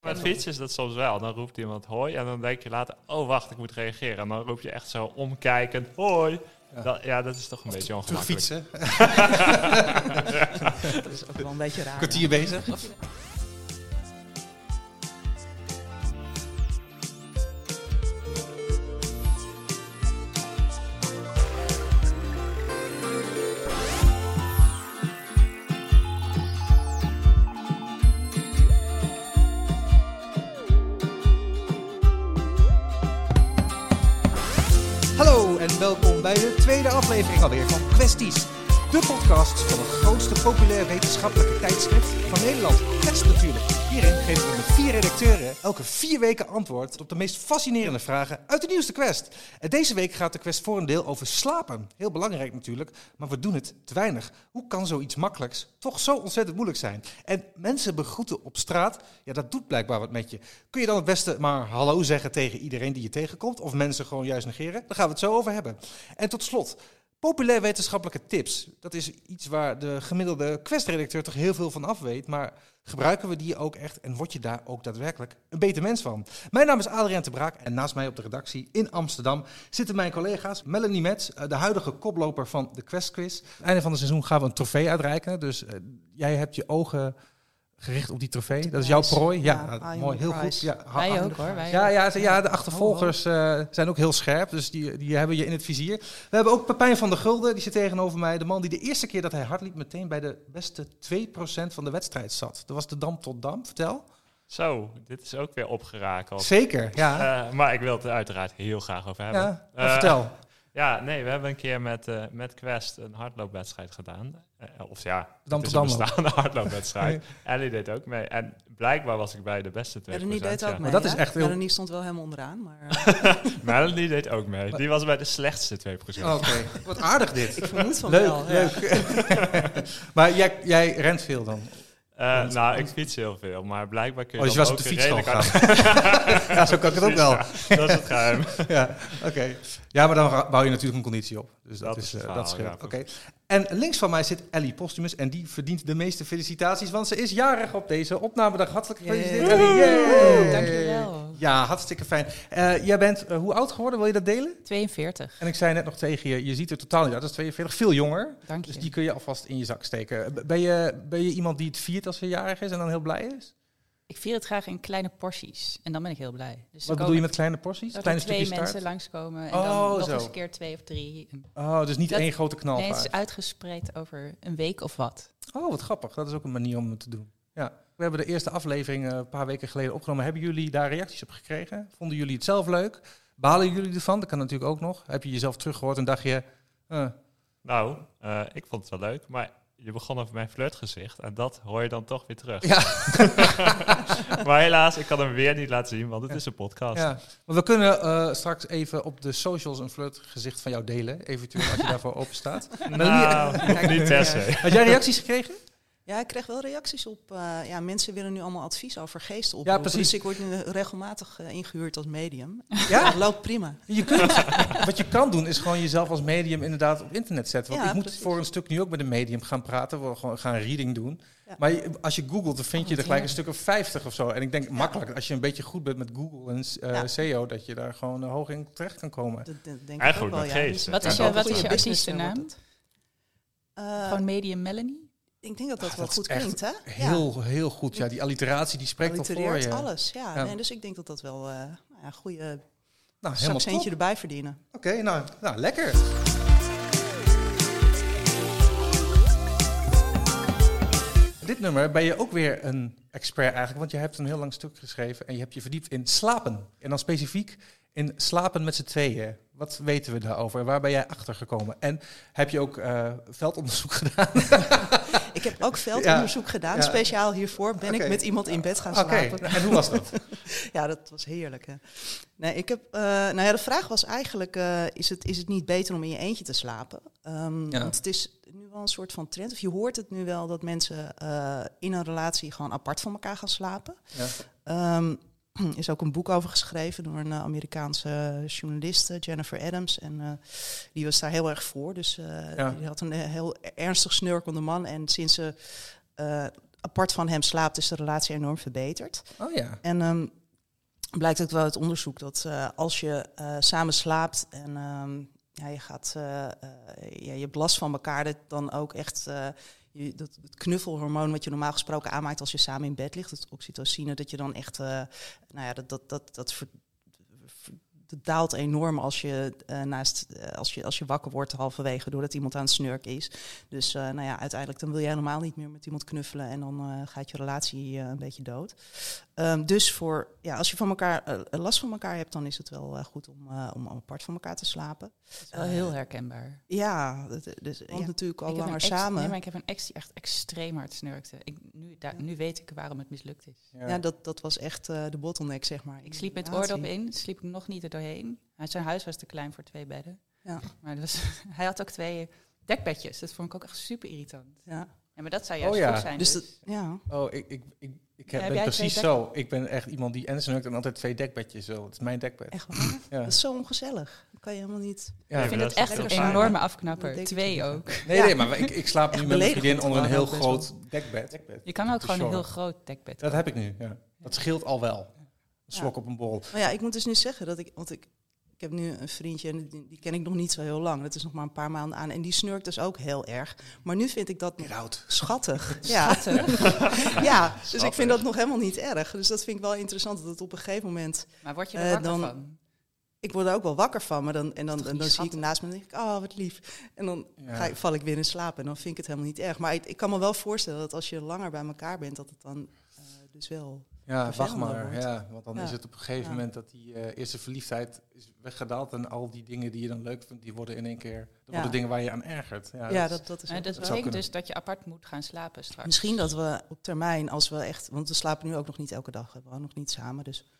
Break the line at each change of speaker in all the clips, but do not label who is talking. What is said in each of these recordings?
Met fietsen is dat soms wel. Dan roept iemand hoi en dan denk je later, oh wacht, ik moet reageren. En dan roep je echt zo omkijkend, hoi.
Ja.
Dat, ja, dat is toch een beetje
Terug
ongemakkelijk.
fietsen.
Dat is ook wel een beetje raar.
Kwartier bezig. Of- Hallo en welkom bij de tweede aflevering alweer van Kwesties. De podcast van het grootste populair wetenschappelijke tijdschrift van Nederland. Kwest natuurlijk. Hierin geven we met vier redacteuren elke vier weken antwoord op de meest fascinerende vragen uit de nieuwste Quest. En deze week gaat de Quest voor een deel over slapen. Heel belangrijk natuurlijk, maar we doen het te weinig. Hoe kan zoiets makkelijks toch zo ontzettend moeilijk zijn? En mensen begroeten op straat, ja dat doet blijkbaar wat met je. Kun je dan het beste maar hallo zeggen tegen iedereen die je tegenkomt? Of mensen gewoon juist negeren? Daar gaan we het zo over hebben. En tot slot, populair wetenschappelijke tips. Dat is iets waar de gemiddelde questredacteur toch heel veel van af weet. Maar gebruiken we die ook echt en word je daar ook daadwerkelijk een beter mens van? Mijn naam is Adriaan de Braak en naast mij op de redactie in Amsterdam zitten mijn collega's Melanie Metz, eh, de huidige koploper van de Quest Quiz. Einde van het seizoen gaan we een trofee uitreiken. Dus eh, jij hebt je ogen gericht op die trofee. Dat is jouw
Nice.
prooi. Ja,
Ja,
nou,
eye on
mooi.
the
Heel
prize.
goed. Ja, ha-
Wij
ha-
ook hoor. Wij
ja,
ook.
ja, ze- ja, de achtervolgers eh, zijn ook heel scherp, dus die, die hebben je in het vizier. We hebben ook Pepijn van der Gulden, die zit tegenover mij. De man die de eerste keer dat hij hard liep meteen bij de beste 2% van de wedstrijd zat. Dat was de dam tot dam, vertel.
Zo, dit is ook weer opgerakeld.
Zeker, ja.
Eh, maar ik wil het er uiteraard heel graag over Oh. hebben.
ja, maar
Eh,
vertel.
Ja, nee, we hebben een keer met, eh, met Quest een hardloopwedstrijd gedaan. Eh, of ja,
Dam
het is
tot
een
Dam
bestaande hardloopwedstrijd. Ellie deed ook mee. En blijkbaar was ik bij de beste twee.
Melanie deed ook mee.
dat is
hè?
echt heel-
Melanie stond wel helemaal onderaan, maar eh,
Melanie deed ook mee. Die was bij de slechtste 2%.
Oké, wat aardig dit.
ik vermoed van
Leuk,
wel. ja.
leuk. maar jij, jij rent veel dan?
Eh,
Want-
nou, ik fiets heel veel, maar blijkbaar kun je.
Oh, dus je
dan
was op
ook
de fiets
redelijk hard-
Ja, zo kan ik het ook wel.
Precies, ja. dat is het geheim.
ja, oké. Ja, maar dan ra- bouw je natuurlijk een conditie op. Dus dat,
Dat
is,
is het
eh, dat
verhaal,
scheelt.
ja.
Oké. En links van mij zit Ellie Postumus en die verdient de meeste felicitaties, want ze is jarig op deze opnamedag. Hartelijk gefeliciteerd,
Yay.
Ellie. Yay.
Dankjewel.
Ja, hartstikke fijn. Eh, jij bent eh, hoe oud geworden? Wil je dat
Eh,
delen?
42.
En ik zei net nog tegen je, je ziet er totaal niet uit. Dat is 42, veel jonger.
Dank je.
Dus die kun je alvast in je zak steken. Eh, B- Ben je, ben je iemand die het viert als ze jarig is en dan heel blij is?
Ik vier het graag in kleine porties. En dan ben ik heel blij. Dus er
Wat bedoel
komen-
je met kleine porties?
dat er
Kleine
twee
stukjes
mensen
taart?
langskomen. En
Oh,
dan nog
zo.
eens een keer twee of drie.
Oh, dus niet
Dat-
één grote knal.
Nee, het is uitgespreid over een week of wat.
Oh, wat grappig. Dat is ook een manier om het te doen. Ja. We hebben de eerste aflevering eh, een paar weken geleden opgenomen. Hebben jullie daar reacties op gekregen? Vonden jullie het zelf leuk? Balen jullie ervan? Dat kan natuurlijk ook nog. Heb je jezelf teruggehoord en dacht je... eh,
Nou, eh, ik vond het wel leuk, maar je begon over mijn flirtgezicht en dat hoor je dan toch weer terug.
Ja.
maar helaas, ik kan hem weer niet laten zien, want het
Ja.
is een podcast.
ja. Maar we kunnen eh, straks even op de socials een flirtgezicht van jou delen. Eventueel als je daarvoor open staat.
Nou,
Kijk,
niet
ja.
per se.
Had jij reacties gekregen?
Ja, ik kreeg wel reacties op. eh, ja, mensen willen nu allemaal advies over geesten op.
precies.
Dus ik word nu regelmatig eh, ingehuurd als medium.
Ja?
Dat loopt prima.
Je kunt. Wat je kan doen is gewoon jezelf als medium inderdaad op internet zetten. Want
Ja,
ik moet
precies.
voor een stuk nu ook met een medium gaan praten. We gewoon gaan reading doen.
Ja.
Maar je- als je googelt, dan vind je
Oh,
er gelijk
ja.
een stuk of 50 of zo. En ik denk makkelijk, als je een beetje goed bent met Google en eh,
Ja.
SEO, dat je daar gewoon eh, hoog in terecht kan komen.
Dat dat denk
En
ik ook
goed
wel,
met
ja.
geest.
Dus,
Wat is
Ja.
je, wat is je
Goeie business,
artiestennaam?
wordt eh,
Gewoon Medium Melanie?
ik denk dat dat
Ah,
wel
dat
goed
is echt
klinkt, hè?
Heel, heel goed. Ja, die alliteratie die spreekt al voor
Allitereert
je.
alles, ja.
Ja.
Nee, dus ik denk dat dat wel eh nou ja, een goede
Nou, helemaal top.
zakcentje
Oké,
erbij verdienen.
nou, nou, lekker. Dit nummer ben je ook weer een expert eigenlijk, want je hebt een heel lang stuk geschreven en je hebt je verdiept in slapen. En dan specifiek in slapen met z'n tweeën. Wat weten we daarover? Waar ben jij achter gekomen? En heb je ook eh, veldonderzoek gedaan?
Ik heb ook veldonderzoek gedaan.
Ja.
Speciaal hiervoor ben
Oké.
ik met iemand in bed gaan
Oké,
slapen.
en hoe was dat?
Ja, dat was heerlijk. Hè? Nee, ik heb, eh, nou ja, de vraag was eigenlijk: eh, is, het, is het niet beter om in je eentje te slapen? Ehm,
Ja.
Want het is nu wel een soort van trend. Of je hoort het nu wel dat mensen eh, in een relatie gewoon apart van elkaar gaan slapen.
Ja.
Ehm, er is ook een boek over geschreven door een eh, Amerikaanse eh, journaliste, Jennifer Adams. En eh, die was daar heel erg voor. Dus eh,
Ja.
die had een eh, heel ernstig snurkende man. En sinds ze eh, apart van hem slaapt, is de relatie enorm verbeterd.
Oh ja.
En ehm, blijkt ook wel uit onderzoek dat eh, als je eh, samen slaapt en ehm, ja, je, gaat, eh, eh, ja, je hebt last van elkaar, dat dan ook echt eh, je, dat, het knuffelhormoon wat je normaal gesproken aanmaakt als je samen in bed ligt, het oxytocine, dat je dan echt, eh, nou ja, dat, dat, dat, dat ver- ver- dat daalt enorm als je, eh, naast, eh, als, je, als je wakker wordt halverwege doordat iemand aan het snurken is. Dus eh, nou ja, uiteindelijk dan wil jij normaal niet meer met iemand knuffelen en dan eh, gaat je relatie eh, een beetje dood. Ehm, dus voor, ja, als je van elkaar, eh, last van elkaar hebt, dan is het wel eh, goed om, eh, om apart van elkaar te slapen.
Dat is wel
eh,
heel herkenbaar.
Ja, dat- dus want
Ja.
natuurlijk al
Ik heb een
langer
ex-
samen.
Nee, maar ik heb een ex die echt extreem hard snurkte. Ik, nu, daar, nu weet ik waarom het mislukt is.
Ja.
Ja, dat, dat was echt eh, de bottleneck, zeg maar. in
Ik
de
sliep met
relatie.
oordop in, sliep ik nog niet er doorheen. Hij- Zijn huis was te klein voor twee bedden.
Ja.
Maar dat was, hij had ook twee dekbedjes. Dat vond ik ook echt super irritant.
Ja.
Ja, maar dat zou juist
Oh ja.
goed zijn.
Dus
Dus,
dat, ja.
Oh, ik, ik, ik, ik heb,
Heb
ben
jij
precies
twee
zo. Ik ben echt iemand die en snurkt en altijd twee dekbedjes wil. Het is mijn dekbed.
Echt Dus waar?
Ja.
Dat is zo ongezellig. Dat kan je helemaal niet.
Ja.
ik vind het echt een
heel fijn.
enorme
Dat
afknapper.
denk ik
Twee
niet.
ook.
Nee,
Ja.
nee, maar ik, ik slaap nu met mijn
beledigend
vriendin onder een
gewoon
heel
ook best wel.
groot dekbed.
Je kan ook
te
gewoon een
sjorren.
heel groot dekbed.
Dat heb ik nu, ja. Dat scheelt al wel. Een slok op een bol.
Nou ja, ik moet dus nu zeggen dat ik, want ik, ik heb nu een vriendje en die, die ken ik nog niet zo heel lang. Dat is nog maar een paar maanden aan en die snurkt dus ook heel erg. Maar nu vind ik dat nog schattig. Ja. ja, dus ik vind dat nog helemaal niet erg. Dus dat vind ik wel interessant dat het op een gegeven moment.
Maar word je er
Eh,
wakker
dan-
van?
Ik word er ook wel wakker van, maar dan, en dan,
toch
en
niet
dan zie ik
schattig?
hem naast me en denk ik, oh wat lief. En dan
Ja.
ga ik, val ik weer in slaap en dan vind ik het helemaal niet erg. Maar ik, ik kan me wel voorstellen dat als je langer bij elkaar bent, dat het dan eh, dus wel.
Ja,
vervelender
wacht maar.
wordt.
Ja, want dan
Ja.
is het op een gegeven
Ja.
moment dat die eh, eerste verliefdheid is weggedaald. En al die dingen die je dan leuk vindt, die worden in één keer... Dat
Ja.
worden dingen waar je aan ergert. Ja,
Ja,
dat is-
dat, dat is
Eh,
ook-
dat
zou
betekent
kunnen.
dus dat je apart moet gaan slapen straks.
Misschien dat we op termijn, als we echt. Want we slapen nu ook nog niet elke dag. We wonen nog niet samen. Dus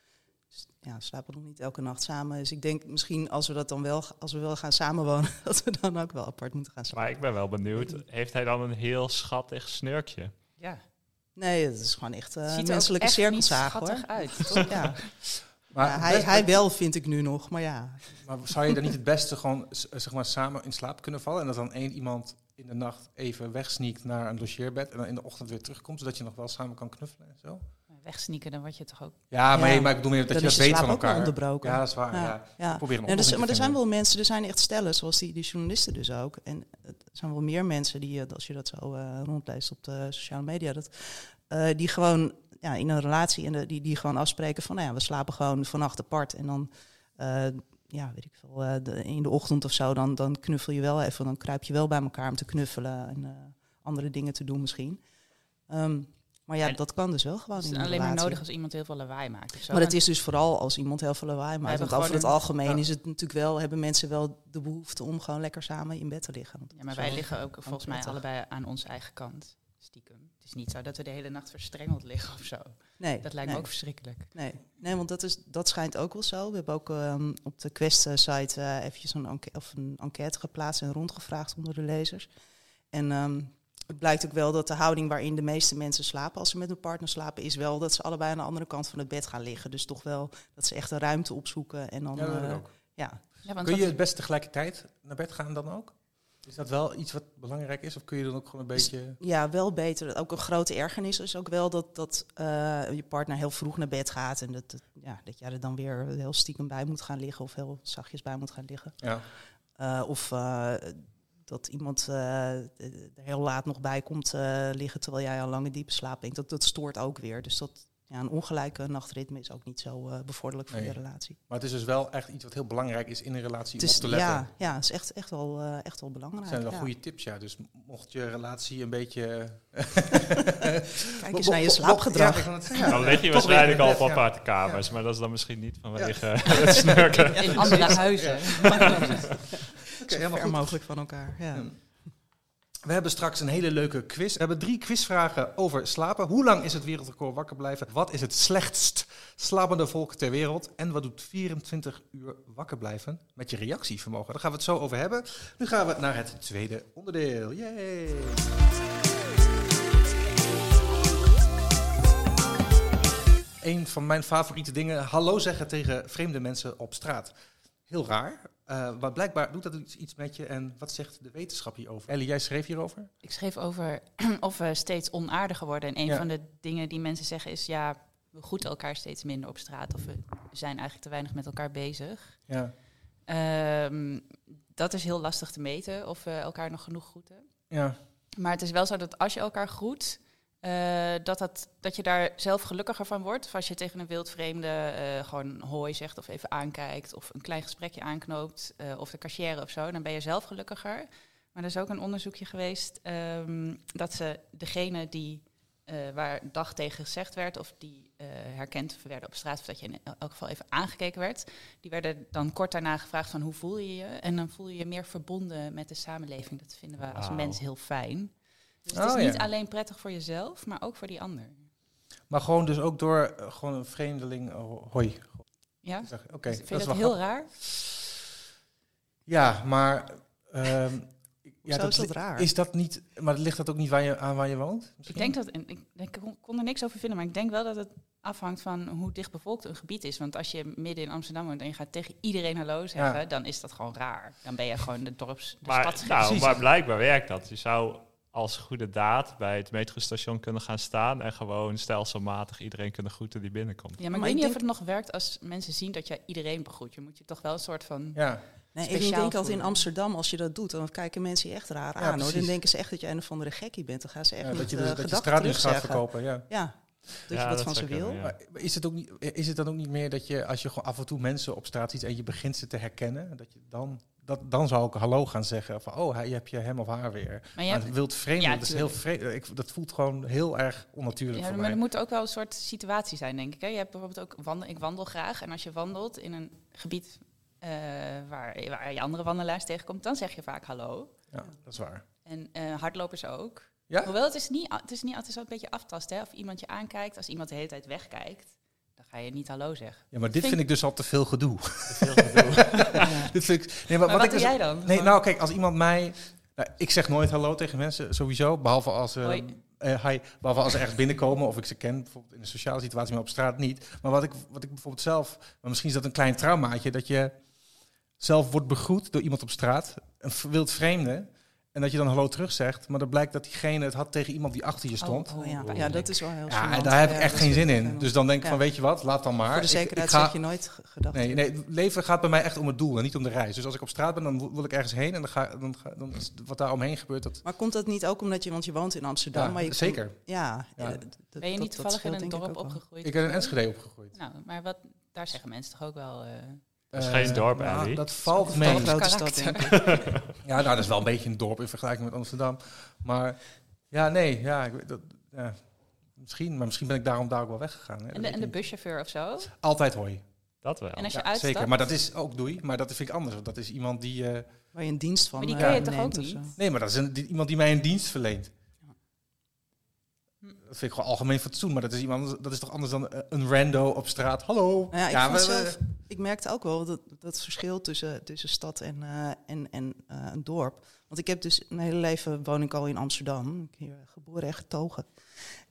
s- ja, we slapen nog niet elke nacht samen. Dus ik denk misschien als we dat dan wel, als we wel gaan samenwonen, dat we dan ook wel apart moeten gaan slapen.
Maar ik ben wel benieuwd, heeft hij dan een heel schattig snurkje?
Ja.
Nee, dat is gewoon echt eh,
Het ziet er ook
menselijke
echt niet
cirkelzaag hoor.
schattig uit.
Ja.
toch?
Maar,
Ja,
het
hij,
beste-
hij wel vind ik nu nog, maar ja.
maar zou je dan niet het beste gewoon s- eh, zeg maar, samen in slaap kunnen vallen? En dat dan één iemand in de nacht even wegsneakt naar een logeerbed. En dan in de ochtend weer terugkomt, zodat je nog wel samen kan knuffelen en zo?
Maar Wegsneaken, dan word je toch ook...
Ja, maar,
Ja.
nee, maar ik bedoel meer dat
Dan
je
is
dat
je
weet
slaap
van
ook wel
elkaar.
onderbroken.
Ja, dat is waar. Ah, Ja.
ja.
Proberen een
Ja, dus,
oplossing te
maar er zijn
vinden.
wel mensen, er zijn echt stellen, zoals die, die journalisten dus ook. En eh, er zijn wel meer mensen die, eh, als je dat zo eh rondleest op de sociale media, dat, eh, die gewoon ja, in een relatie en de- die, die gewoon afspreken van, nou ja, we slapen gewoon vannacht apart. En dan, eh, ja, weet ik veel, eh, de- in de ochtend of zo, dan, dan knuffel je wel even, dan kruip je wel bij elkaar om te knuffelen en eh, andere dingen te doen misschien. Ehm, maar ja,
En-
dat kan dus wel gewoon
Het is
in een
alleen maar
relatie.
nodig als iemand heel veel lawaai maakt. of zo.
Maar het is dus vooral als iemand heel veel lawaai maakt.
hebben
Want over het
gewoon
algemeen
ja.
is het natuurlijk wel, hebben mensen wel de behoefte om gewoon lekker samen in bed te liggen. Want
Ja, maar
dat is
wij
wel-
liggen ook volgens mij
prettig.
allebei aan onze eigen kant. Stiekem. Het is niet zo dat we de hele nacht verstrengeld liggen of zo.
Nee,
Dat lijkt
nee,
me ook verschrikkelijk.
Nee, nee want dat, is, dat schijnt ook wel zo. We hebben ook ehm, op de Quest-site eh eventjes een, enque- of een enquête geplaatst en rondgevraagd onder de lezers. En ehm, het blijkt ook wel dat de houding waarin de meeste mensen slapen als ze met hun partner slapen, is wel dat ze allebei aan de andere kant van het bed gaan liggen. Dus toch wel dat ze echt een ruimte opzoeken en dan.
Ja, dat heb ik
eh,
ook.
ja.
Ja, want
Kun je
dat-
het best tegelijkertijd naar bed gaan dan ook? Is dat wel iets wat belangrijk is? Of kun je dan ook gewoon een
Is-
beetje...
Ja, wel beter. Ook een grote ergernis is ook wel dat, dat eh, je partner heel vroeg naar bed gaat. En dat, dat, ja, dat jij er dan weer heel stiekem bij moet gaan liggen of heel zachtjes bij moet gaan liggen.
Ja.
Eh, of eh, dat iemand eh, er heel laat nog bij komt eh, liggen terwijl jij al lange diepe slaap denkt. Dat, dat stoort ook weer. Dus dat, ja, een ongelijke nachtritme is ook niet zo eh, bevorderlijk voor
Nee.
je relatie.
Maar het is dus wel echt iets wat heel belangrijk is in een relatie om op te letten.
ja, ja, het is echt, echt, wel, eh, echt wel belangrijk.
Dat zijn wel
ja.
goede tips, ja. Dus mocht je relatie een beetje...
Kijk eens naar je slaapgedrag.
Dan lig je
Toch
waarschijnlijk
weer
al
in
op
bed, ja.
aparte kamers, maar dat is dan misschien niet vanwege het snurken.
in andere huizen.
Oké, helemaal
Ver
goed.
mogelijk van elkaar. Ja.
We hebben straks een hele leuke quiz. We hebben drie quizvragen over slapen. Hoe lang is het wereldrecord wakker blijven? Wat is het slechtst slapende volk ter wereld? En wat doet 24 uur wakker blijven met je reactievermogen? Daar gaan we het zo over hebben. Nu gaan we naar het tweede onderdeel. Yay! Een van mijn favoriete dingen. Hallo zeggen tegen vreemde mensen op straat. Heel raar. Eh, maar blijkbaar doet dat iets, iets met je. En wat zegt de wetenschap hierover? Ellie, jij schreef hierover?
Ik schreef over of we steeds onaardiger worden. En een
Ja.
van de dingen die mensen zeggen is... ja, we groeten elkaar steeds minder op straat. Of we zijn eigenlijk te weinig met elkaar bezig.
Ja.
Ehm, dat is heel lastig te meten of we elkaar nog genoeg groeten.
ja.
Maar het is wel zo dat als je elkaar groet, eh, dat, dat, dat je daar zelf gelukkiger van wordt. Of als je tegen een wildvreemde eh, gewoon hoi zegt of even aankijkt of een klein gesprekje aanknoopt eh, of de cashier of zo, dan ben je zelf gelukkiger. Maar er is ook een onderzoekje geweest ehm, dat ze degene die eh, waar dag tegen gezegd werd of die eh, herkend werden op straat of dat je in elk geval even aangekeken werd, die werden dan kort daarna gevraagd van hoe voel je je? En dan voel je je meer verbonden met de samenleving. Dat vinden we als
Wauw.
mens heel fijn. Dus het
Oh,
is niet
ja.
alleen prettig voor jezelf, maar ook voor die ander.
Maar gewoon dus ook door eh, gewoon een vreemdeling. oh, hoi.
Ja?
Ik zeg, Oké,
Dus
dat
vind je
is wel
dat heel
grappig.
raar?
Ja, maar. ehm, ja,
Zo is dat
li-
raar.
Is dat niet. Maar ligt dat ook niet waar je, aan waar je woont?
Ik denk dat, en ik, ik kon- kon er niks over vinden, maar ik denk wel dat het afhangt van hoe dicht bevolkt een gebied is. Want als je midden in Amsterdam woont en je gaat tegen iedereen hallo zeggen, dan is dat gewoon raar. Dan ben je gewoon de dorps,
Dus
de
Maar,
stad.
nou,
Precies.
maar blijkbaar werkt dat. Je zou als goede daad bij het metrostation kunnen gaan staan en gewoon stelselmatig iedereen kunnen groeten die binnenkomt.
Ja, maar,
Maar
ik weet
ik
niet of
denk-
het nog werkt als mensen zien dat jij iedereen begroet. Je moet je toch wel een soort van
Ja,
Nee, ik
Speciaal
denk dat in
voelen.
Amsterdam, als je dat doet, dan kijken mensen je echt raar aan. Hoor. Dan
precies.
denken ze echt dat je een of andere gekkie bent. Dan gaan ze echt
ja, dat
met
je,
eh,
dus, dat je
gedachten
straatlicht gaat
terugzeggen.
verkopen. Ja.
Ja, dat
Ja,
je wat van ze
zou
wil.
kunnen, ja.
Maar is het, ook niet, eh, is het dan ook niet meer dat je, als je gewoon af en toe mensen op straat ziet en je begint ze te herkennen, dat je dan, dat, dan zou ik hallo gaan zeggen van, oh, hij, heb je hem of haar weer.
Maar
Ja,
je
maar
hebt,
het wild vreemde,
Ja,
dat is heel vreemd. Ik, dat voelt gewoon heel erg onnatuurlijk
ja,
voor
maar
mij.
er moet ook wel een soort situatie zijn, denk ik. Hè? Je hebt bijvoorbeeld ook wandelen. Ik wandel graag. En als je wandelt in een gebied eh, waar, waar je andere wandelaars tegenkomt, dan zeg je vaak hallo.
Ja, dat is waar.
En eh, hardlopers ook.
Ja?
Hoewel het is niet, a- het is niet altijd zo een beetje aftasten. Hè? Of iemand je aankijkt. Als iemand de hele tijd wegkijkt, dan ga je niet hallo zeggen.
Ja, maar dit
Vind-
vind ik dus al te veel gedoe.
Ja.
dit vind ik, nee, maar,
Maar wat,
ik
doe
dus-
jij dan?
Nee,
Gewoon,
nou kijk, als iemand mij... nou, ik zeg nooit hallo tegen mensen, sowieso. Behalve als, eh,
Hoi.
eh, hi, behalve als ze ergens binnenkomen of ik ze ken. Bijvoorbeeld in een sociale situatie, maar op straat niet. Maar wat ik, wat ik bijvoorbeeld zelf... Maar misschien is dat een klein traumaatje. Dat je zelf wordt begroet door iemand op straat. Een v- wild vreemde. En dat je dan hallo terug zegt. Maar dan blijkt dat diegene het had tegen iemand die achter je stond.
Oh, ja. ja, dat is wel heel
ja,
gênant.
en daar heb
Ja,
ik echt
dat
geen
is
zin
heel
in.
gênant.
Dus dan denk ik
Ja.
van, weet je wat, laat dan maar.
Voor de
Ik- ik
zekerheid
ga-
zeg je nooit g- gedacht.
Nee, nee, het leven gaat bij mij echt om het doel en niet om de reis. Dus als ik op straat ben, dan wil- wil ik ergens heen en dan ga, dan ga dan is wat daar omheen gebeurt, dat
Maar komt dat niet ook omdat je, want je woont in Amsterdam?
Ja,
maar je
zeker.
komt- ja,
Ja.
eh, d- d-
ben je
dat-
niet
dat
toevallig in
scheelt
een
denk ik
dorp
ook wel.
opgegroeid?
ik ben in
of zo?
Enschede opgegroeid.
Nou, maar wat, daar zeggen mensen toch ook wel... eh,
Dat
is geen dorp, Ellie.
Dat valt
Wel
mee.
een grote stad,
Karakter.
denk ik.
Ja, nou, dat is wel een beetje een dorp in vergelijking met Amsterdam. Maar ja, nee, ja, ik, weet dat, ja, misschien, maar misschien ben ik daarom daar ook wel weggegaan. Hè.
en, de, en de buschauffeur of zo?
Altijd hoi.
Dat wel.
En als je
Ja,
uitstapt?
zeker, maar dat is ook doei, maar dat vind ik anders. want Dat is iemand die, eh,
Waar je een dienst van
Maar die
eh,
ken je toch
neemt
ook
of
niet?
zo.
nee, maar dat is een, die- iemand die mij een dienst verleent.
Hm.
Dat vind ik gewoon algemeen fatsoen, maar dat is, iemand, dat is toch anders dan eh, een rando op straat. Hallo.
Nou ja, ik, vond
we- we-
zelf, ik merkte ook wel dat, dat verschil tussen, tussen stad en, eh, en, en eh, een dorp. Want ik heb dus mijn hele leven woon ik al in Amsterdam. Ik ben hier geboren en getogen.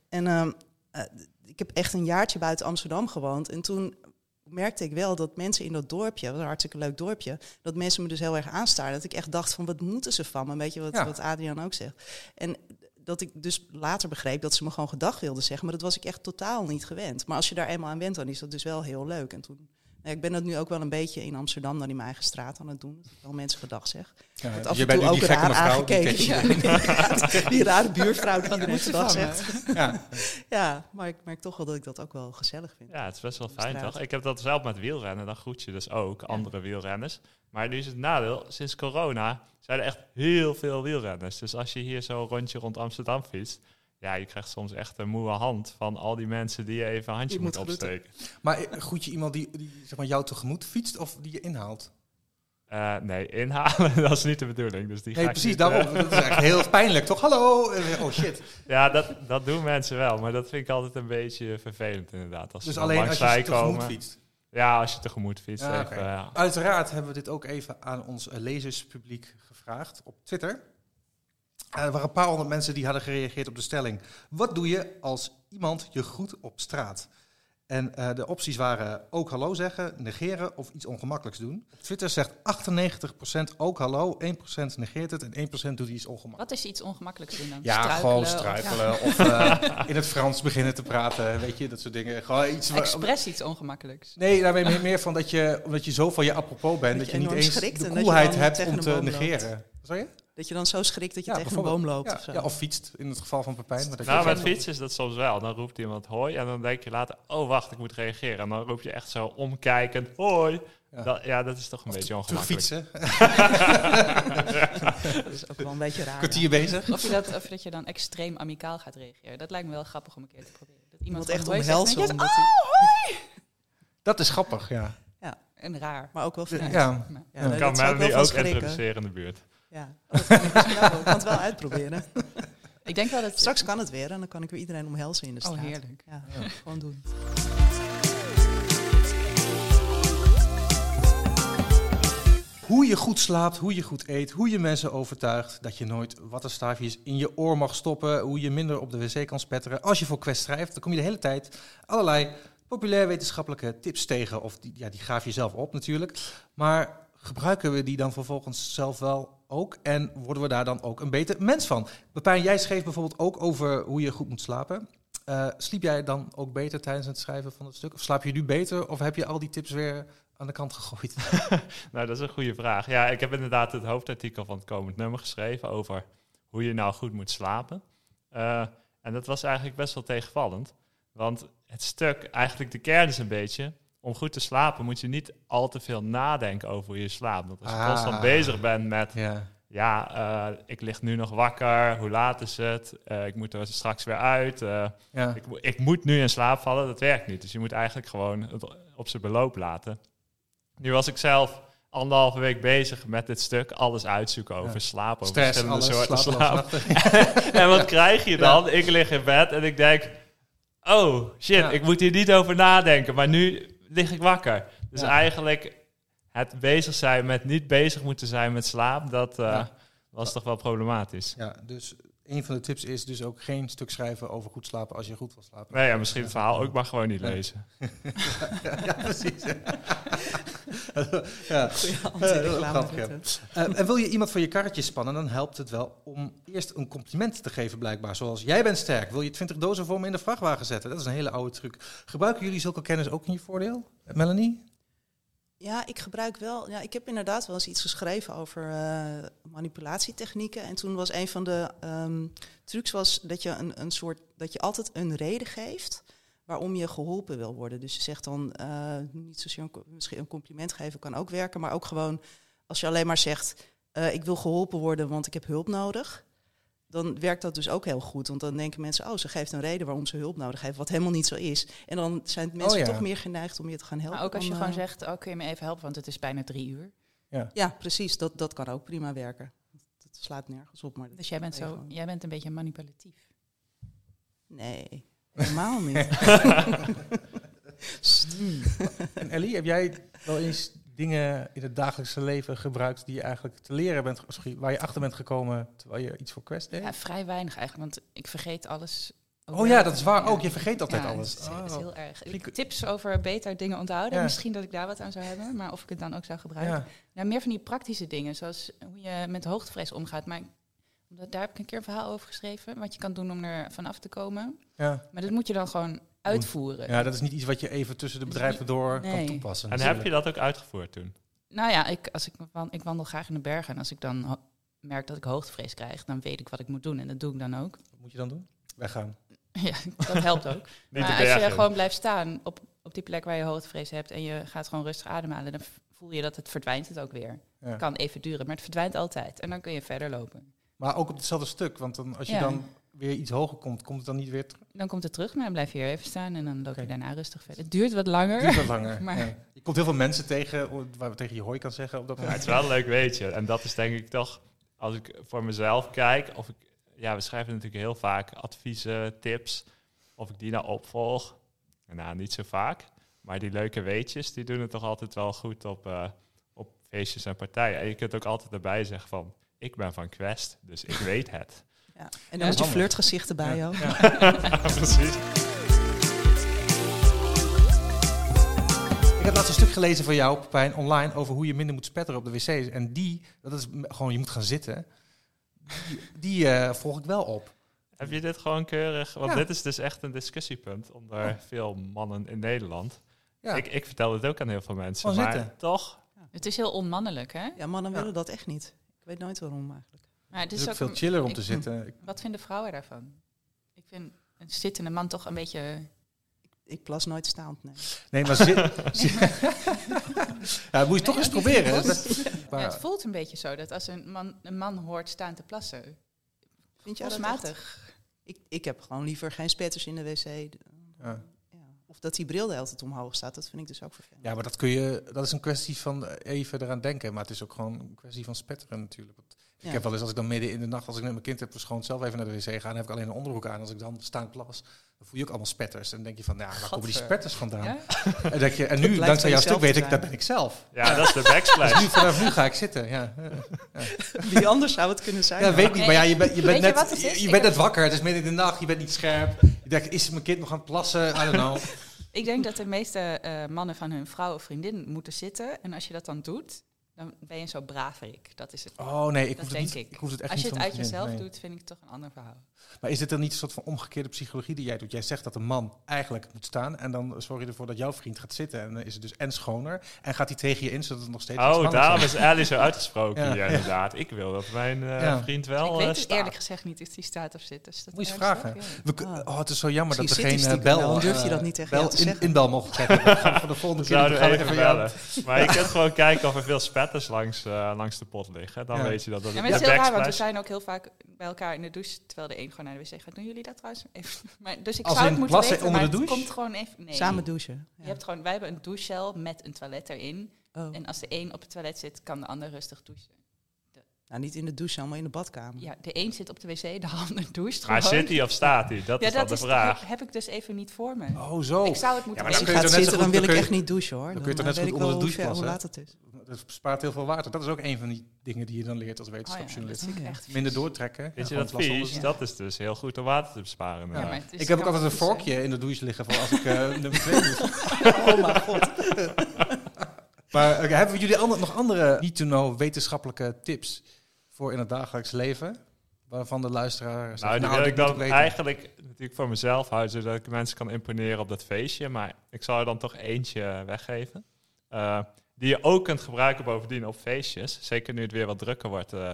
En ehm, eh, ik heb echt een jaartje buiten Amsterdam gewoond. En toen merkte ik wel dat mensen in dat dorpje, wat een hartstikke leuk dorpje, dat mensen me dus heel erg aanstaarden. Dat ik echt dacht van wat moeten ze van me? Weet je wat,
Ja.
wat Adriaan ook zegt. En dat ik dus later begreep dat ze me gewoon gedag wilden zeggen. Maar dat was ik echt totaal niet gewend. Maar als je daar eenmaal aan bent, dan is dat dus wel heel leuk. En toen, nou ja, ik ben dat nu ook wel een beetje in Amsterdam dan in mijn eigen straat aan het doen. Dat ik wel mensen gedag zeg.
Ja,
Wordt
dus
af
je
en
bent
toe
nu
ook
die gekke
raar
mevrouw die
aangekeken.
tegen-
Ja, inderdaad. die rare buurvrouw die iedereen gedag zegt.
Ja.
Ja, maar ik merk toch wel dat ik dat ook wel gezellig vind.
Ja, het is best wel fijn
straat.
toch? Ik heb dat zelf met wielrennen, dan groet je dus ook andere wielrenners. Maar nu is het nadeel, sinds corona zijn er echt heel veel wielrenners. Dus als je hier zo'n rondje rond Amsterdam fietst, ja, je krijgt soms echt een moe hand van al die mensen die je even een handje
Die
moet
moet groeten.
opsteken.
Maar eh, groet je iemand die, die zeg maar, jou tegemoet fietst of die je inhaalt?
Eh, nee, inhalen, dat is niet de bedoeling. Dus die ga
Nee,
ik
precies,
niet, eh,
daarom. Dat is echt heel pijnlijk, toch? Hallo! Eh, Oh shit.
Ja, dat, dat doen mensen wel, maar dat vind ik altijd een beetje vervelend inderdaad. Als
Dus
ze dan
alleen
langs
als je ze
mij
tegemoet
komen.
fietst.
Ja, als je tegemoet fietst.
Ja,
even,
oké.
ja.
Uiteraard hebben we dit ook even aan ons eh, lezerspubliek gevraagd op Twitter. Eh, er waren een paar honderd mensen die hadden gereageerd op de stelling. Wat doe je als iemand je groet op straat? En eh, de opties waren ook hallo zeggen, negeren of iets ongemakkelijks doen. Op Twitter zegt 98% ook hallo, 1% negeert het en 1% doet iets ongemakkelijks.
Wat is iets ongemakkelijks doen dan?
Ja,
Struikelen
gewoon
of-
struikelen of eh, in het Frans beginnen te praten, weet je, dat soort dingen. Gewoon iets
Ja.
wa-
Expres iets ongemakkelijks.
Nee, daar ben je meer van dat je, omdat je zo van je apropos bent, dat
Dat
je,
je
niet
enorm
eens
schrikt
de
en dat je
koelheid
dan
hebt
tegen
om
een
te
boom loopt.
negeren. Sorry?
Dat je dan zo schrikt dat je
Ja,
tegen een
bijvoorbeeld.
boom loopt
Ja,
of zo.
ja, of fietst, in het geval van Pepijn. Maar dat
Nou,
je-
met fietsen is dat soms wel. Dan roept iemand hoi en dan denk je later, oh wacht, ik moet reageren. En dan roep je echt zo omkijkend, hoi.
Ja.
Ja, dat, ja, dat is toch een beetje
Terug
ongemakkelijk.
Ah,
fietsen, een
Dat is ook wel een beetje raar.
kwartier bezig.
Of je, dat, of dat je dan extreem amicaal gaat reageren. Dat lijkt me wel grappig om een keer te proberen. Dat iemand
Iemand echt
gewoon hoi zegt "Oh, en
omhelzen.
dan,
omdat
"Yes,
hij-
Dat is grappig, ja.
oh!" En raar.
Maar ook wel
Ja,
vreemd.
Nou,
Ja, nee,
Kan
dat zou
mij
ik wel
niet
van
ook
schrikken.
introduceren in de buurt.
Ja, Oh, dat kan ik misschien wel. Ik kan het wel uitproberen.
Ik denk wel dat...
Straks kan het weer en dan kan ik weer iedereen omhelzen in de
Oh,
straat.
heerlijk.
Ja, gewoon doen.
Hoe je goed slaapt, hoe je goed eet, hoe je mensen overtuigt dat je nooit wattenstaafjes in je oor mag stoppen, hoe je minder op de wc kan spetteren. Als je voor quest schrijft, dan kom je de hele tijd allerlei populair wetenschappelijke tips tegen. Of die, ja, die graaf je zelf op natuurlijk. Maar gebruiken we die dan vervolgens zelf wel ook? En worden we daar dan ook een beter mens van? Pepijn, jij schreef bijvoorbeeld ook over hoe je goed moet slapen. Eh, sliep jij dan ook beter tijdens het schrijven van het stuk? Of slaap je nu beter? Of heb je al die tips weer aan de kant gegooid?
Nou, dat is een goede vraag. Ja, ik heb inderdaad het hoofdartikel van het komend nummer geschreven over hoe je nou goed moet slapen. Eh, en dat was eigenlijk best wel tegenvallend. Want het stuk, eigenlijk de kern is een beetje, om goed te slapen moet je niet al te veel nadenken over hoe je slaapt. Want als je
Ah.
constant bezig bent met
Ja.
ja, eh, ik lig nu nog wakker, hoe laat is het, Eh, ik moet er straks weer uit, Eh,
Ja.
ik, mo- ik moet nu in slaap vallen, dat werkt niet. Dus je moet eigenlijk gewoon het op zijn beloop laten. Nu was ik zelf anderhalve week bezig met dit stuk, alles uitzoeken over
Ja.
slaap, over
Stress,
verschillende
alles,
soorten
slaap,
slaap.
slaap.
En wat krijg je
Ja.
dan? Ik lig in bed en ik denk, oh shit,
Ja.
ik moet hier niet over nadenken, maar nu lig ik wakker. Dus
Ja.
eigenlijk het bezig zijn met niet bezig moeten zijn met slaap, dat eh,
Ja.
was toch wel problematisch.
Ja, dus een van de tips is dus ook geen stuk schrijven over goed slapen als je goed wil slapen.
Nee, ja, misschien het verhaal ook maar gewoon niet
Ja.
lezen.
Ja, precies. ja. Ja.
Goeie
heel
anti-reclame.
grappig, ja. Eh, en wil je iemand voor je karretje spannen, dan helpt het wel om eerst een compliment te geven blijkbaar. Zoals, jij bent sterk, wil je 20 dozen voor me in de vrachtwagen zetten? Dat is een hele oude truc. Gebruiken jullie zulke kennis ook in je voordeel, Melanie?
Ja, ik gebruik wel. Ja, ik heb inderdaad wel eens iets geschreven over eh, manipulatietechnieken. En toen was een van de ehm, trucs was dat je een, een soort dat je altijd een reden geeft waarom je geholpen wil worden. Dus je zegt dan eh, niet zozeer een, co- misschien een compliment geven kan ook werken, maar ook gewoon als je alleen maar zegt eh, ik wil geholpen worden, want ik heb hulp nodig. Dan werkt dat dus ook heel goed. Want dan denken mensen, oh, ze geeft een reden waarom ze hulp nodig heeft, wat helemaal niet zo is. En dan zijn mensen
ja.
toch meer geneigd om je te gaan helpen.
Maar ook als je
dan,
gewoon
eh,
zegt, oh, kun je me even helpen, want het is bijna drie uur.
ja, precies. Dat, dat kan ook prima werken. Dat slaat nergens op. Maar dat-
Dus jij bent,
Nee,
zo,
gewoon.
jij bent een beetje manipulatief.
Nee, helemaal niet. Sst.
En Ellie, heb jij wel eens dingen in het dagelijkse leven gebruikt die je eigenlijk te leren bent, sorry, waar je achter bent gekomen terwijl je iets voor Quest deed?
Ja, vrij weinig eigenlijk, want ik vergeet alles.
Oh ja, dat is waar
Ja.
ook. Je vergeet altijd
Ja,
alles.
Dat is, dat is
Oh.
heel erg.
Ik-
Tips over beter dingen onthouden.
Ja.
Misschien dat ik daar wat aan zou hebben, maar of ik het dan ook zou gebruiken.
Ja.
Nou, meer van die praktische dingen, zoals hoe je met hoogtevrees omgaat. Maar omdat- daar heb ik een keer een verhaal over geschreven, wat je kan doen om er vanaf te komen.
Ja.
Maar dat moet je dan gewoon uitvoeren.
ja, dat is niet iets wat je even tussen de
Dat Eh, is
bedrijven door kan
nee.
toepassen.
En heb je dat ook uitgevoerd toen?
Nou ja, ik, als ik, wan- ik wandel graag in de bergen. En als ik dan ho- merk dat ik hoogtevrees krijg, dan weet ik wat ik moet doen. En dat doe ik dan ook.
Wat moet je dan doen? Weggaan.
ja, dat helpt ook.
Niet
maar
de
als je
bergen.
gewoon blijft staan op, op die plek waar je hoogtevrees hebt... en je gaat gewoon rustig ademhalen, dan v- voel je dat het verdwijnt het ook weer.
Ja.
Kan even duren, maar het verdwijnt altijd. En dan kun je verder lopen.
Maar ook op hetzelfde stuk, want dan, als je
Ja.
dan weer iets hoger komt, komt het dan niet weer terug.
Dan komt het terug, maar dan blijf je hier even staan... en dan loop
Oké.
je daarna rustig verder. Het duurt wat
Het
langer.
duurt wat langer.
Maar-
Ja. Je komt heel veel mensen tegen o- waar we tegen je hooi kan zeggen op dat
Maar het is
moment.
wel een leuk weetje. En dat is denk ik toch, als ik voor mezelf kijk, of ik, ja, we schrijven natuurlijk heel vaak adviezen, tips, of ik die nou opvolg. Nou, niet zo vaak. Maar die leuke weetjes, die doen het toch altijd wel goed op, eh, op feestjes en partijen. En je kunt ook altijd erbij zeggen van, ik ben van Quest, dus ik weet het.
Ja. En dan moet je
handig.
flirtgezichten bij ook.
Precies.
Ik heb laatst een stuk gelezen van jou, Pepijn, online, over hoe je minder moet spetteren op de wc's. En die, dat is m- gewoon, je moet gaan zitten. Die, die eh, volg ik wel op.
Heb je dit gewoon keurig? Want
Ja.
dit is dus echt een discussiepunt onder
Ja.
veel mannen in Nederland.
Ja.
Ik, ik vertel dit ook aan heel veel mensen.
Gewoon
maar
zitten.
toch,
Het is heel onmannelijk, hè?
Ja, mannen
Ja.
willen dat echt niet. Ik weet nooit waarom eigenlijk.
Maar het
Het
is,
is ook Dus
ook
veel
een-
chiller om te
ik-
zitten. Ik-
Wat vinden vrouwen daarvan? Ik vind een zittende man toch een beetje...
Ik plas nooit staand. Nee.
Nee, maar zit. ja, moet je toch eens proberen. hè?
Ja,
Maar-
het voelt een beetje zo dat als een man, een man hoort staan te plassen,
Vind jij dat echt?
gevoelsmatig.
Ik, ik heb gewoon liever geen spetters in de wc.
Ja.
Ja. Of dat die bril de hele tijd omhoog staat, dat vind ik dus ook vervelend.
Ja, maar dat kun je. Dat is een kwestie van eh, even eraan denken. Maar het is ook gewoon een kwestie van spetteren natuurlijk. Want
Ja.
Ik heb wel eens als ik dan midden in de nacht, als ik met mijn kind heb verschoond, zelf even naar de wc ga, dan heb ik alleen een onderbroek aan. Als ik dan staan plas, dan voel je ook allemaal spetters. En dan denk je van, nou, waar komen die
Gadver.
spetters vandaan?
Ja?
En, denk je, en nu, dankzij
blijkt bij
jouw stuk,
jezelf
weet
te
ik,
zijn.
dat ben ik zelf.
ja, dat is de
Dus
backslash.
nu, vanaf nu ga ik zitten. Ja, ja
Wie anders zou het kunnen zijn?
weet ik niet. Maar ja, je, bent je bent
Weet je
net,
wat het
je,
is?
je
Ik
bent
heb-
net wakker. Het is midden in de nacht. Je bent niet scherp. Je denkt, is mijn kind nog aan het plassen? I don't know.
Ik denk dat de meeste eh, mannen van hun vrouw of vriendin moeten zitten. En als je dat dan doet, dan ben je zo braverik. Dat is het.
Oh nee, ik
Dat
hoef het, niet,
denk ik.
hoef het echt
als
niet
je het
van
uit
mijn gezin,
jezelf
nee.
doet, vind ik het toch een ander verhaal.
Maar is dit dan niet een soort van omgekeerde psychologie die jij doet? Jij zegt dat een man eigenlijk moet staan en dan zorg je ervoor dat jouw vriend gaat zitten. En dan is het dus en schoner en gaat hij tegen je in zodat het nog steeds iets
Oh,
spannends
daarom
is.
is Ali zo uitgesproken
Ja,
hier,
ja.
inderdaad. Ik wil dat mijn eh,
Ja.
vriend wel
ik
eh,
weet het
staat.
eerlijk gezegd niet of die staat of zit. Dus dat
Moet je eens
ernstig,
vragen.
ja.
We kun- oh, het is zo jammer dat er
Misschien
geen
Ah. zit
eh,
hij stiekem
bel...
wel, durf je
eh,
dat niet tegen
bel
jou te
in,
zeggen.
inbel mogen zetten. We gaan voor de
We
volgende keer
zouden
gaan we
even
jou-
bellen. Maar je kunt gewoon kijken of er veel spetters langs, eh, langs de pot liggen. Dan
Ja.
weet je dat dat
Ja,
de
maar het is heel raar, want we
backsplash-
zijn ook heel vaak bij elkaar in de douche, terwijl de een gewoon naar de wc gaat. Doen jullie dat trouwens? Even. Maar, dus ik
Als
zou
in
het moeten
plassen
weten,
onder
maar
de
het
douche?
komt gewoon even... Nee.
Samen douchen. Ja.
Je hebt gewoon, wij hebben een douchecel met een toilet erin.
Oh.
En als de een op het toilet zit, kan de ander rustig douchen.
Nou, niet in de douche, allemaal in de badkamer.
Ja, de een zit op de wc, de ander douche
Maar zit hij of staat hij? Dat
ja,
is dan
dat
de
is,
vraag.
heb ik dus even niet voor me.
Oh, zo.
Ik zou het moeten
Ja,
Als
maar kun
ik
weten. Oh
je
ga
zo net zo
zitten, dan
goed- dan
wil ik
kun je-
echt niet douchen hoor. eh,
dan kun je toch net zo
weet
goed
ik wel
onder de
hoe
douche
ver- Hoe laat
plassen,
het is.
Dat bespaart heel veel water. Dat is ook een van die dingen die je dan leert als
Oh ja, dat
wetenschapsjournalist.
vind ik
Ja.
echt
Minder doortrekken.
Weet je
Ja,
dat
gewoon plassen
vies?
onder-
Dat is dus heel goed om water te besparen.
Ja,
inderdaad.
maar het is-
Ik heb ook
Dus kan
altijd een
wel
vorkje in de douche liggen voor als ik eh, nummer twee moet.
Oh mijn god.
Maar oké, hebben jullie ander- nog andere niet-to-know wetenschappelijke tips voor in het dagelijks leven? Waarvan de luisteraar
Nou,
zegt,
die
nou,
wil
dit
ik
moet
dan
weten.
eigenlijk natuurlijk voor mezelf houden, zodat ik mensen kan imponeren op dat feestje. Maar ik zal er dan toch eentje weggeven. Eh, die je ook kunt gebruiken bovendien op feestjes. Zeker nu het weer wat drukker wordt eh,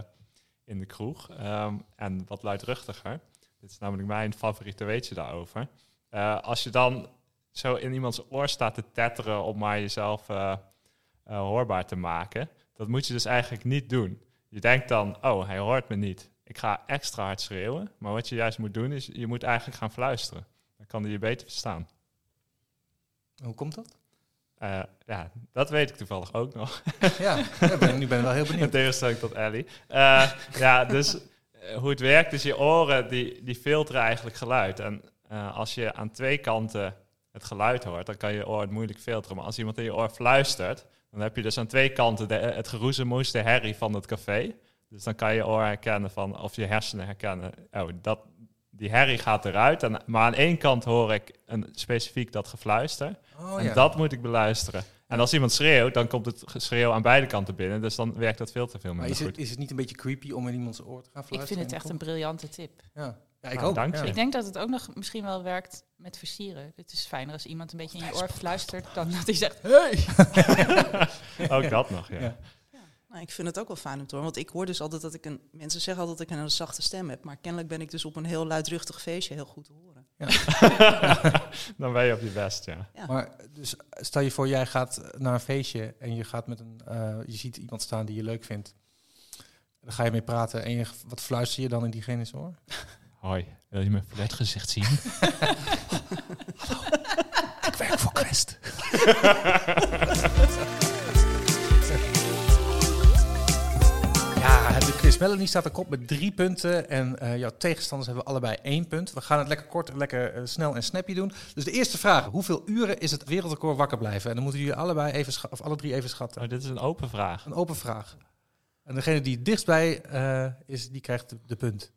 in de kroeg. ehm, en wat luidruchtiger. Dit is namelijk mijn favoriete weetje daarover. Eh, als je dan zo in iemands oor staat te tetteren om maar jezelf eh, eh, hoorbaar te maken. Dat moet je dus eigenlijk niet doen. Je denkt dan, oh, hij hoort me niet. Ik ga extra hard schreeuwen. Maar wat je juist moet doen, is je moet eigenlijk gaan fluisteren. Dan kan hij je beter verstaan.
Hoe komt dat?
Eh, ja, dat weet ik toevallig ook nog.
Ja, ja, ben- nu ben ik wel heel
In
benieuwd.
tegenstelling tot Ellie. Eh, ja, dus eh, hoe het werkt is je oren die, die filteren eigenlijk geluid. En eh, als je aan twee kanten het geluid hoort, dan kan je oor het moeilijk filteren. Maar als iemand in je oor fluistert, dan heb je dus aan twee kanten de, het geroezemoes, de herrie van het café. Dus dan kan je oor herkennen van, of je hersenen herkennen. Oh, dat, die herrie gaat eruit. En, maar aan één kant hoor ik een, specifiek dat gefluister.
Oh,
en
ja.
dat moet ik beluisteren. En als iemand schreeuwt, dan komt het geschreeuw aan beide kanten binnen. Dus dan werkt dat veel te veel
maar
minder
is
goed.
het, is het niet een beetje creepy om in iemands oor te gaan
Ik vind
fluisteren?
het echt een briljante tip.
Ja, ja ik
Nou,
ook.
dank
ja.
je.
Ik denk dat het ook nog misschien wel werkt met versieren. Het is fijner als iemand een beetje in je oor fluistert dan dat hij zegt...
Ook dat nog, ja.
Ja.
Nou, ik vind het ook wel fijn om te horen. Want ik hoor dus altijd dat ik een... Mensen zeggen altijd dat ik een zachte stem heb. Maar kennelijk ben ik dus op een heel luidruchtig feestje heel goed te horen.
dan ben je op je best, ja.
Maar dus stel je voor, jij gaat naar een feestje en je, gaat met een, eh, je ziet iemand staan die je leuk vindt. Dan ga je mee praten en je, wat fluister je dan in diegene's oor?
Hoi, wil je mijn gezicht zien?
Ik werk voor Quest. Ja, de quiz. Melanie staat er kop met drie punten. En eh, jouw tegenstanders hebben allebei één punt. We gaan het lekker kort, lekker eh, snel en snappy doen. Dus de eerste vraag. Hoeveel uren is het wereldrecord wakker blijven? En dan moeten jullie allebei even scha- of alle drie even schatten.
Oh, dit is een open vraag.
Een open vraag. En degene die het dichtstbij eh, is, die krijgt de, de punt.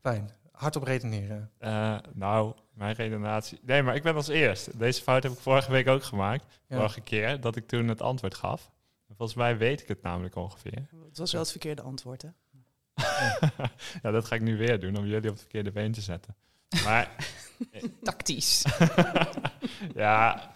Pijn. hard op redeneren.
Eh, nou, mijn redenatie. Nee, maar ik ben als eerst. Deze fout heb ik vorige week ook gemaakt.
Ja.
Vorige keer dat ik toen het antwoord gaf. Volgens mij weet ik het namelijk ongeveer.
Het was wel het verkeerde antwoord, hè?
ja, dat ga ik nu weer doen om jullie op het verkeerde been te zetten. Maar
Tactisch.
ja,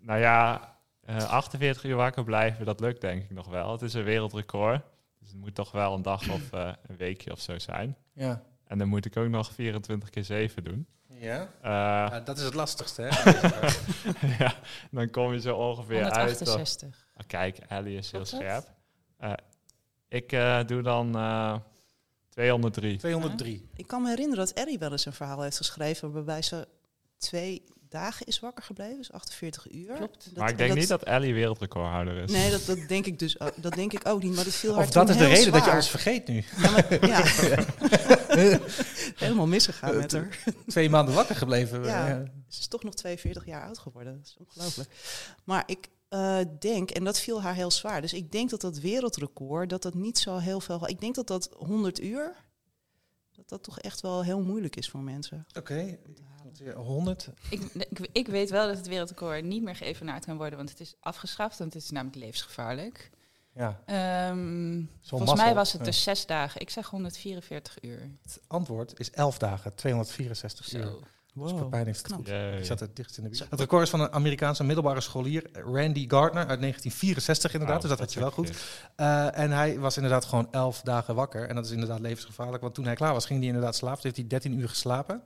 nou ja, eh, 48 uur wakker blijven, dat lukt denk ik nog wel. Het is een wereldrecord. Dus het moet toch wel een dag of eh, een weekje of zo zijn.
Ja.
En dan moet ik ook nog 24 keer 7 doen.
Ja? Nou,
Eh,
dat is het lastigste, hè?
ja, dan kom je zo ongeveer uit. dat-
168.
Ah, kijk, Ellie is heel
Klopt dat?
scherp. Eh, ik eh, doe dan eh 203.
203.
Ik kan me herinneren dat Ellie wel eens een verhaal heeft geschreven waarbij ze twee dagen is wakker gebleven, dus 48 uur.
Klopt.
Dat-
maar ik denk
dat-
niet dat Ellie wereldrecordhouder is.
Nee, dat, dat denk ik dus ook, dat denk ik ook niet, maar dat viel haar
Of dat
toen
is de
heel
reden dat je
zwaar.
alles vergeet nu.
Ja. Helemaal
Eh,
misgegaan met haar.
Twee maanden wakker gebleven.
Ja.
Ja.
Ze is toch nog 42 jaar oud geworden. Dat is ongelooflijk. Maar ik eh, denk, en dat viel haar heel zwaar. Dus ik denk dat dat wereldrecord, dat dat niet zo heel veel... Ik denk dat dat 100 uur, dat dat toch echt wel heel moeilijk is voor mensen.
Oké,
om te halen.
100.
Ik, ik, ik weet wel dat het wereldrecord niet meer geëvenaard kan worden, want het is afgeschaft, want het is namelijk levensgevaarlijk.
Ja.
Ehm, volgens
mazzel.
mij was het
Ja.
dus zes dagen. Ik zeg 144 uur.
Het antwoord is 11 dagen, 264 uur.
Zo.
Dus Pepijn heeft het
Knap.
goed.
Jee.
Ik zat het dichtst in de
Zo.
buurt. Het record is van een Amerikaanse middelbare scholier, Randy Gardner, uit 1964 inderdaad.
Oh,
dus dat had je wel
zeg ik
goed.
niet.
Eh, en hij was inderdaad gewoon 11 dagen wakker. En dat is inderdaad levensgevaarlijk. Want toen hij klaar was, ging hij inderdaad slapen. Toen heeft hij 13 uur geslapen.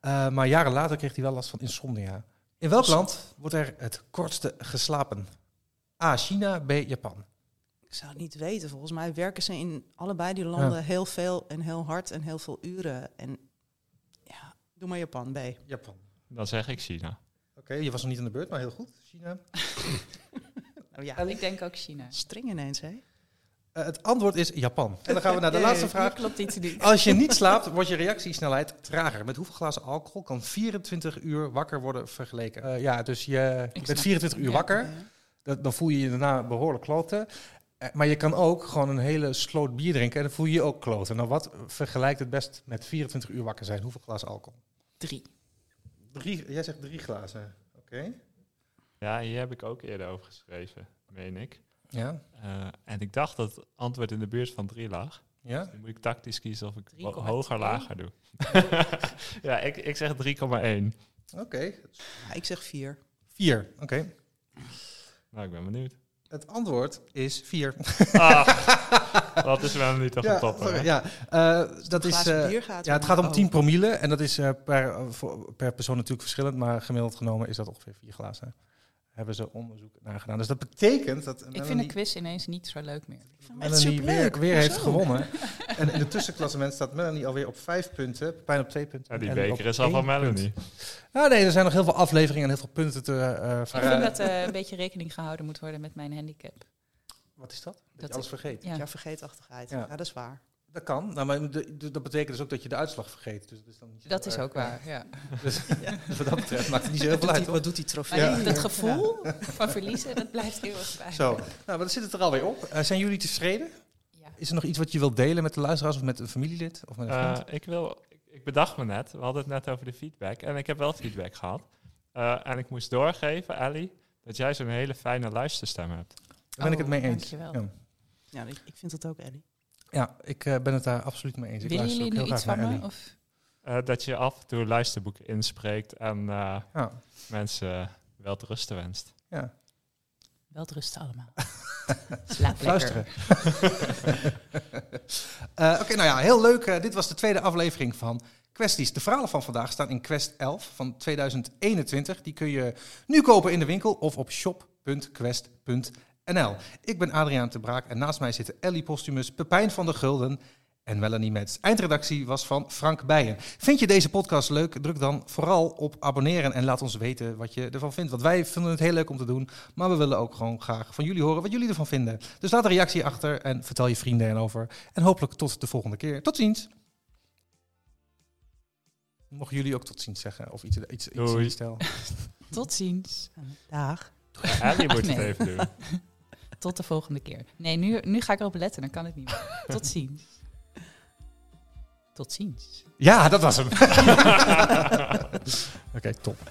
Eh, maar jaren later kreeg hij wel last van insomnia. In welk land wordt er het kortste geslapen? A. China, B. Japan.
Ik zou het niet weten. Volgens mij werken ze in allebei die landen heel veel en heel hard en heel veel uren. En ja, doe maar Japan bij.
Japan.
Dan zeg ik China.
Oké, je was nog niet aan de beurt, maar heel goed. China.
Nou ja,
Ik denk ook China.
streng ineens, hè?
Eh, het antwoord is Japan. En dan gaan we naar de
Yay.
laatste vraag.
Hier klopt iets niet.
Als je niet slaapt, wordt je reactiesnelheid trager. Met hoeveel glazen alcohol kan 24 uur wakker worden vergeleken? Eh, ja, dus je
snap
bent 24 uur
Ja.
wakker. Dat, dan voel je je daarna behoorlijk kloten. Eh, maar je kan ook gewoon een hele sloot bier drinken en dan voel je je ook kloten. Nou, wat vergelijkt het best met 24 uur wakker zijn? Hoeveel glazen alcohol?
Drie.
Drie, jij zegt drie glazen. Oké.
Ja, hier heb ik ook eerder over geschreven, meen ik.
Ja,
Eh, en ik dacht dat het antwoord in de buurt van 3 lag.
ja.
Dan moet ik tactisch kiezen of ik
3,2.
ho- hoger, lager doe. ja, ik, ik zeg 3,1.
Oké.
Ja, ik zeg vier.
Vier. Oké.
Nou, ik ben benieuwd.
Het antwoord is vier. Ah.
Ach, dat is wel niet toch een topper. hè?
sorry, ja. Eh, dat
Een
is...
glaasje
eh,
bier gaat
Ja, het
om.
gaat om
Oh.
10 promille en dat is eh, per, eh, voor- per persoon natuurlijk verschillend, maar gemiddeld genomen is dat ongeveer vier glazen. Hebben ze onderzoek naar gedaan. Dus dat betekent dat.
Ik vind de quiz ineens niet zo leuk meer.
Ik vind hem echt
Melanie
superleuk.
weer, weer heeft
Hoezo?
gewonnen. en in het tussenklassement staat Melanie alweer op vijf punten, Pijn op twee punten.
Ja, die
en Ellie
beker
op
is al
één
van
punt.
Melanie.
Nou nee, er zijn nog heel veel afleveringen en heel veel punten te eh
Ik
verraden.
vind dat eh, een beetje rekening gehouden moet worden met mijn handicap.
Wat is dat? Dat,
Dat
je alles vergeet.
Ja.
Ja, vergeetachtigheid.
Ja.
Ja, dat is waar.
Dat kan, nou, maar de- de- dat betekent dus ook dat je de uitslag vergeet. Dus dat is, dan niet zo
Dat is
erg.
ook waar. Ja.
Dus, wat dat betreft maakt het niet zo heel
Wat
veel
doet,
uit.
die,
hoor.
wat doet die
Maar
trofee?
die- dat gevoel van verliezen, dat blijft heel erg bij.
Zo, nou, maar dan zit het er alweer op. Eh, zijn jullie tevreden?
Ja.
Is er nog iets wat je wilt delen met de luisteraars of met een familielid of met een
Eh,
vriend?
ik, wil, ik- ik bedacht me net, we hadden het net over de feedback. En ik heb wel feedback gehad. Eh, en ik moest doorgeven, Ellie, dat jij zo'n hele fijne luisterstem hebt.
Daar ben ik het mee
Oh,
eens.
dankjewel.
Ja,
Ja, ik, ik vind dat ook, Ellie.
ja ik eh, ben het daar absoluut mee eens. Ik
Willen
luister
jullie
ook
nu
heel
iets
graag
van
naar
me?
Ellie.
Of?
Eh, dat je af en toe luisterboeken inspreekt en eh,
Ja,
mensen wel te rusten wenst.
ja.
Wel rusten allemaal. Slaap
Luisteren. Eh, Oké, nou ja, heel leuk. Eh, dit was de tweede aflevering van Kwesties. De verhalen van vandaag staan in Quest 11 van 2021. Die kun je nu kopen in de winkel of op shop.quest.nl. Ik ben Adriaan te Braak en naast mij zitten Ellie Postumus, Pepijn van der Gulden en Melanie Metz. Eindredactie was van Frank Bijen. Vind je deze podcast leuk? Druk dan vooral op abonneren en laat ons weten wat je ervan vindt. Want wij vinden het heel leuk om te doen, maar we willen ook gewoon graag van jullie horen wat jullie ervan vinden. Dus laat een reactie achter en vertel je vrienden en over. En hopelijk tot de volgende keer. Tot ziens. Mogen jullie ook tot ziens zeggen of iets, iets, iets in
Doei.
die stijl?
Tot ziens.
Dag.
Ja, Ellie moet
Nee.
het even doen.
Tot de volgende keer. Nee, nu, nu ga ik erop letten, dan kan het niet meer. Tot ziens. Tot ziens.
Ja, dat was hem. Oké, top.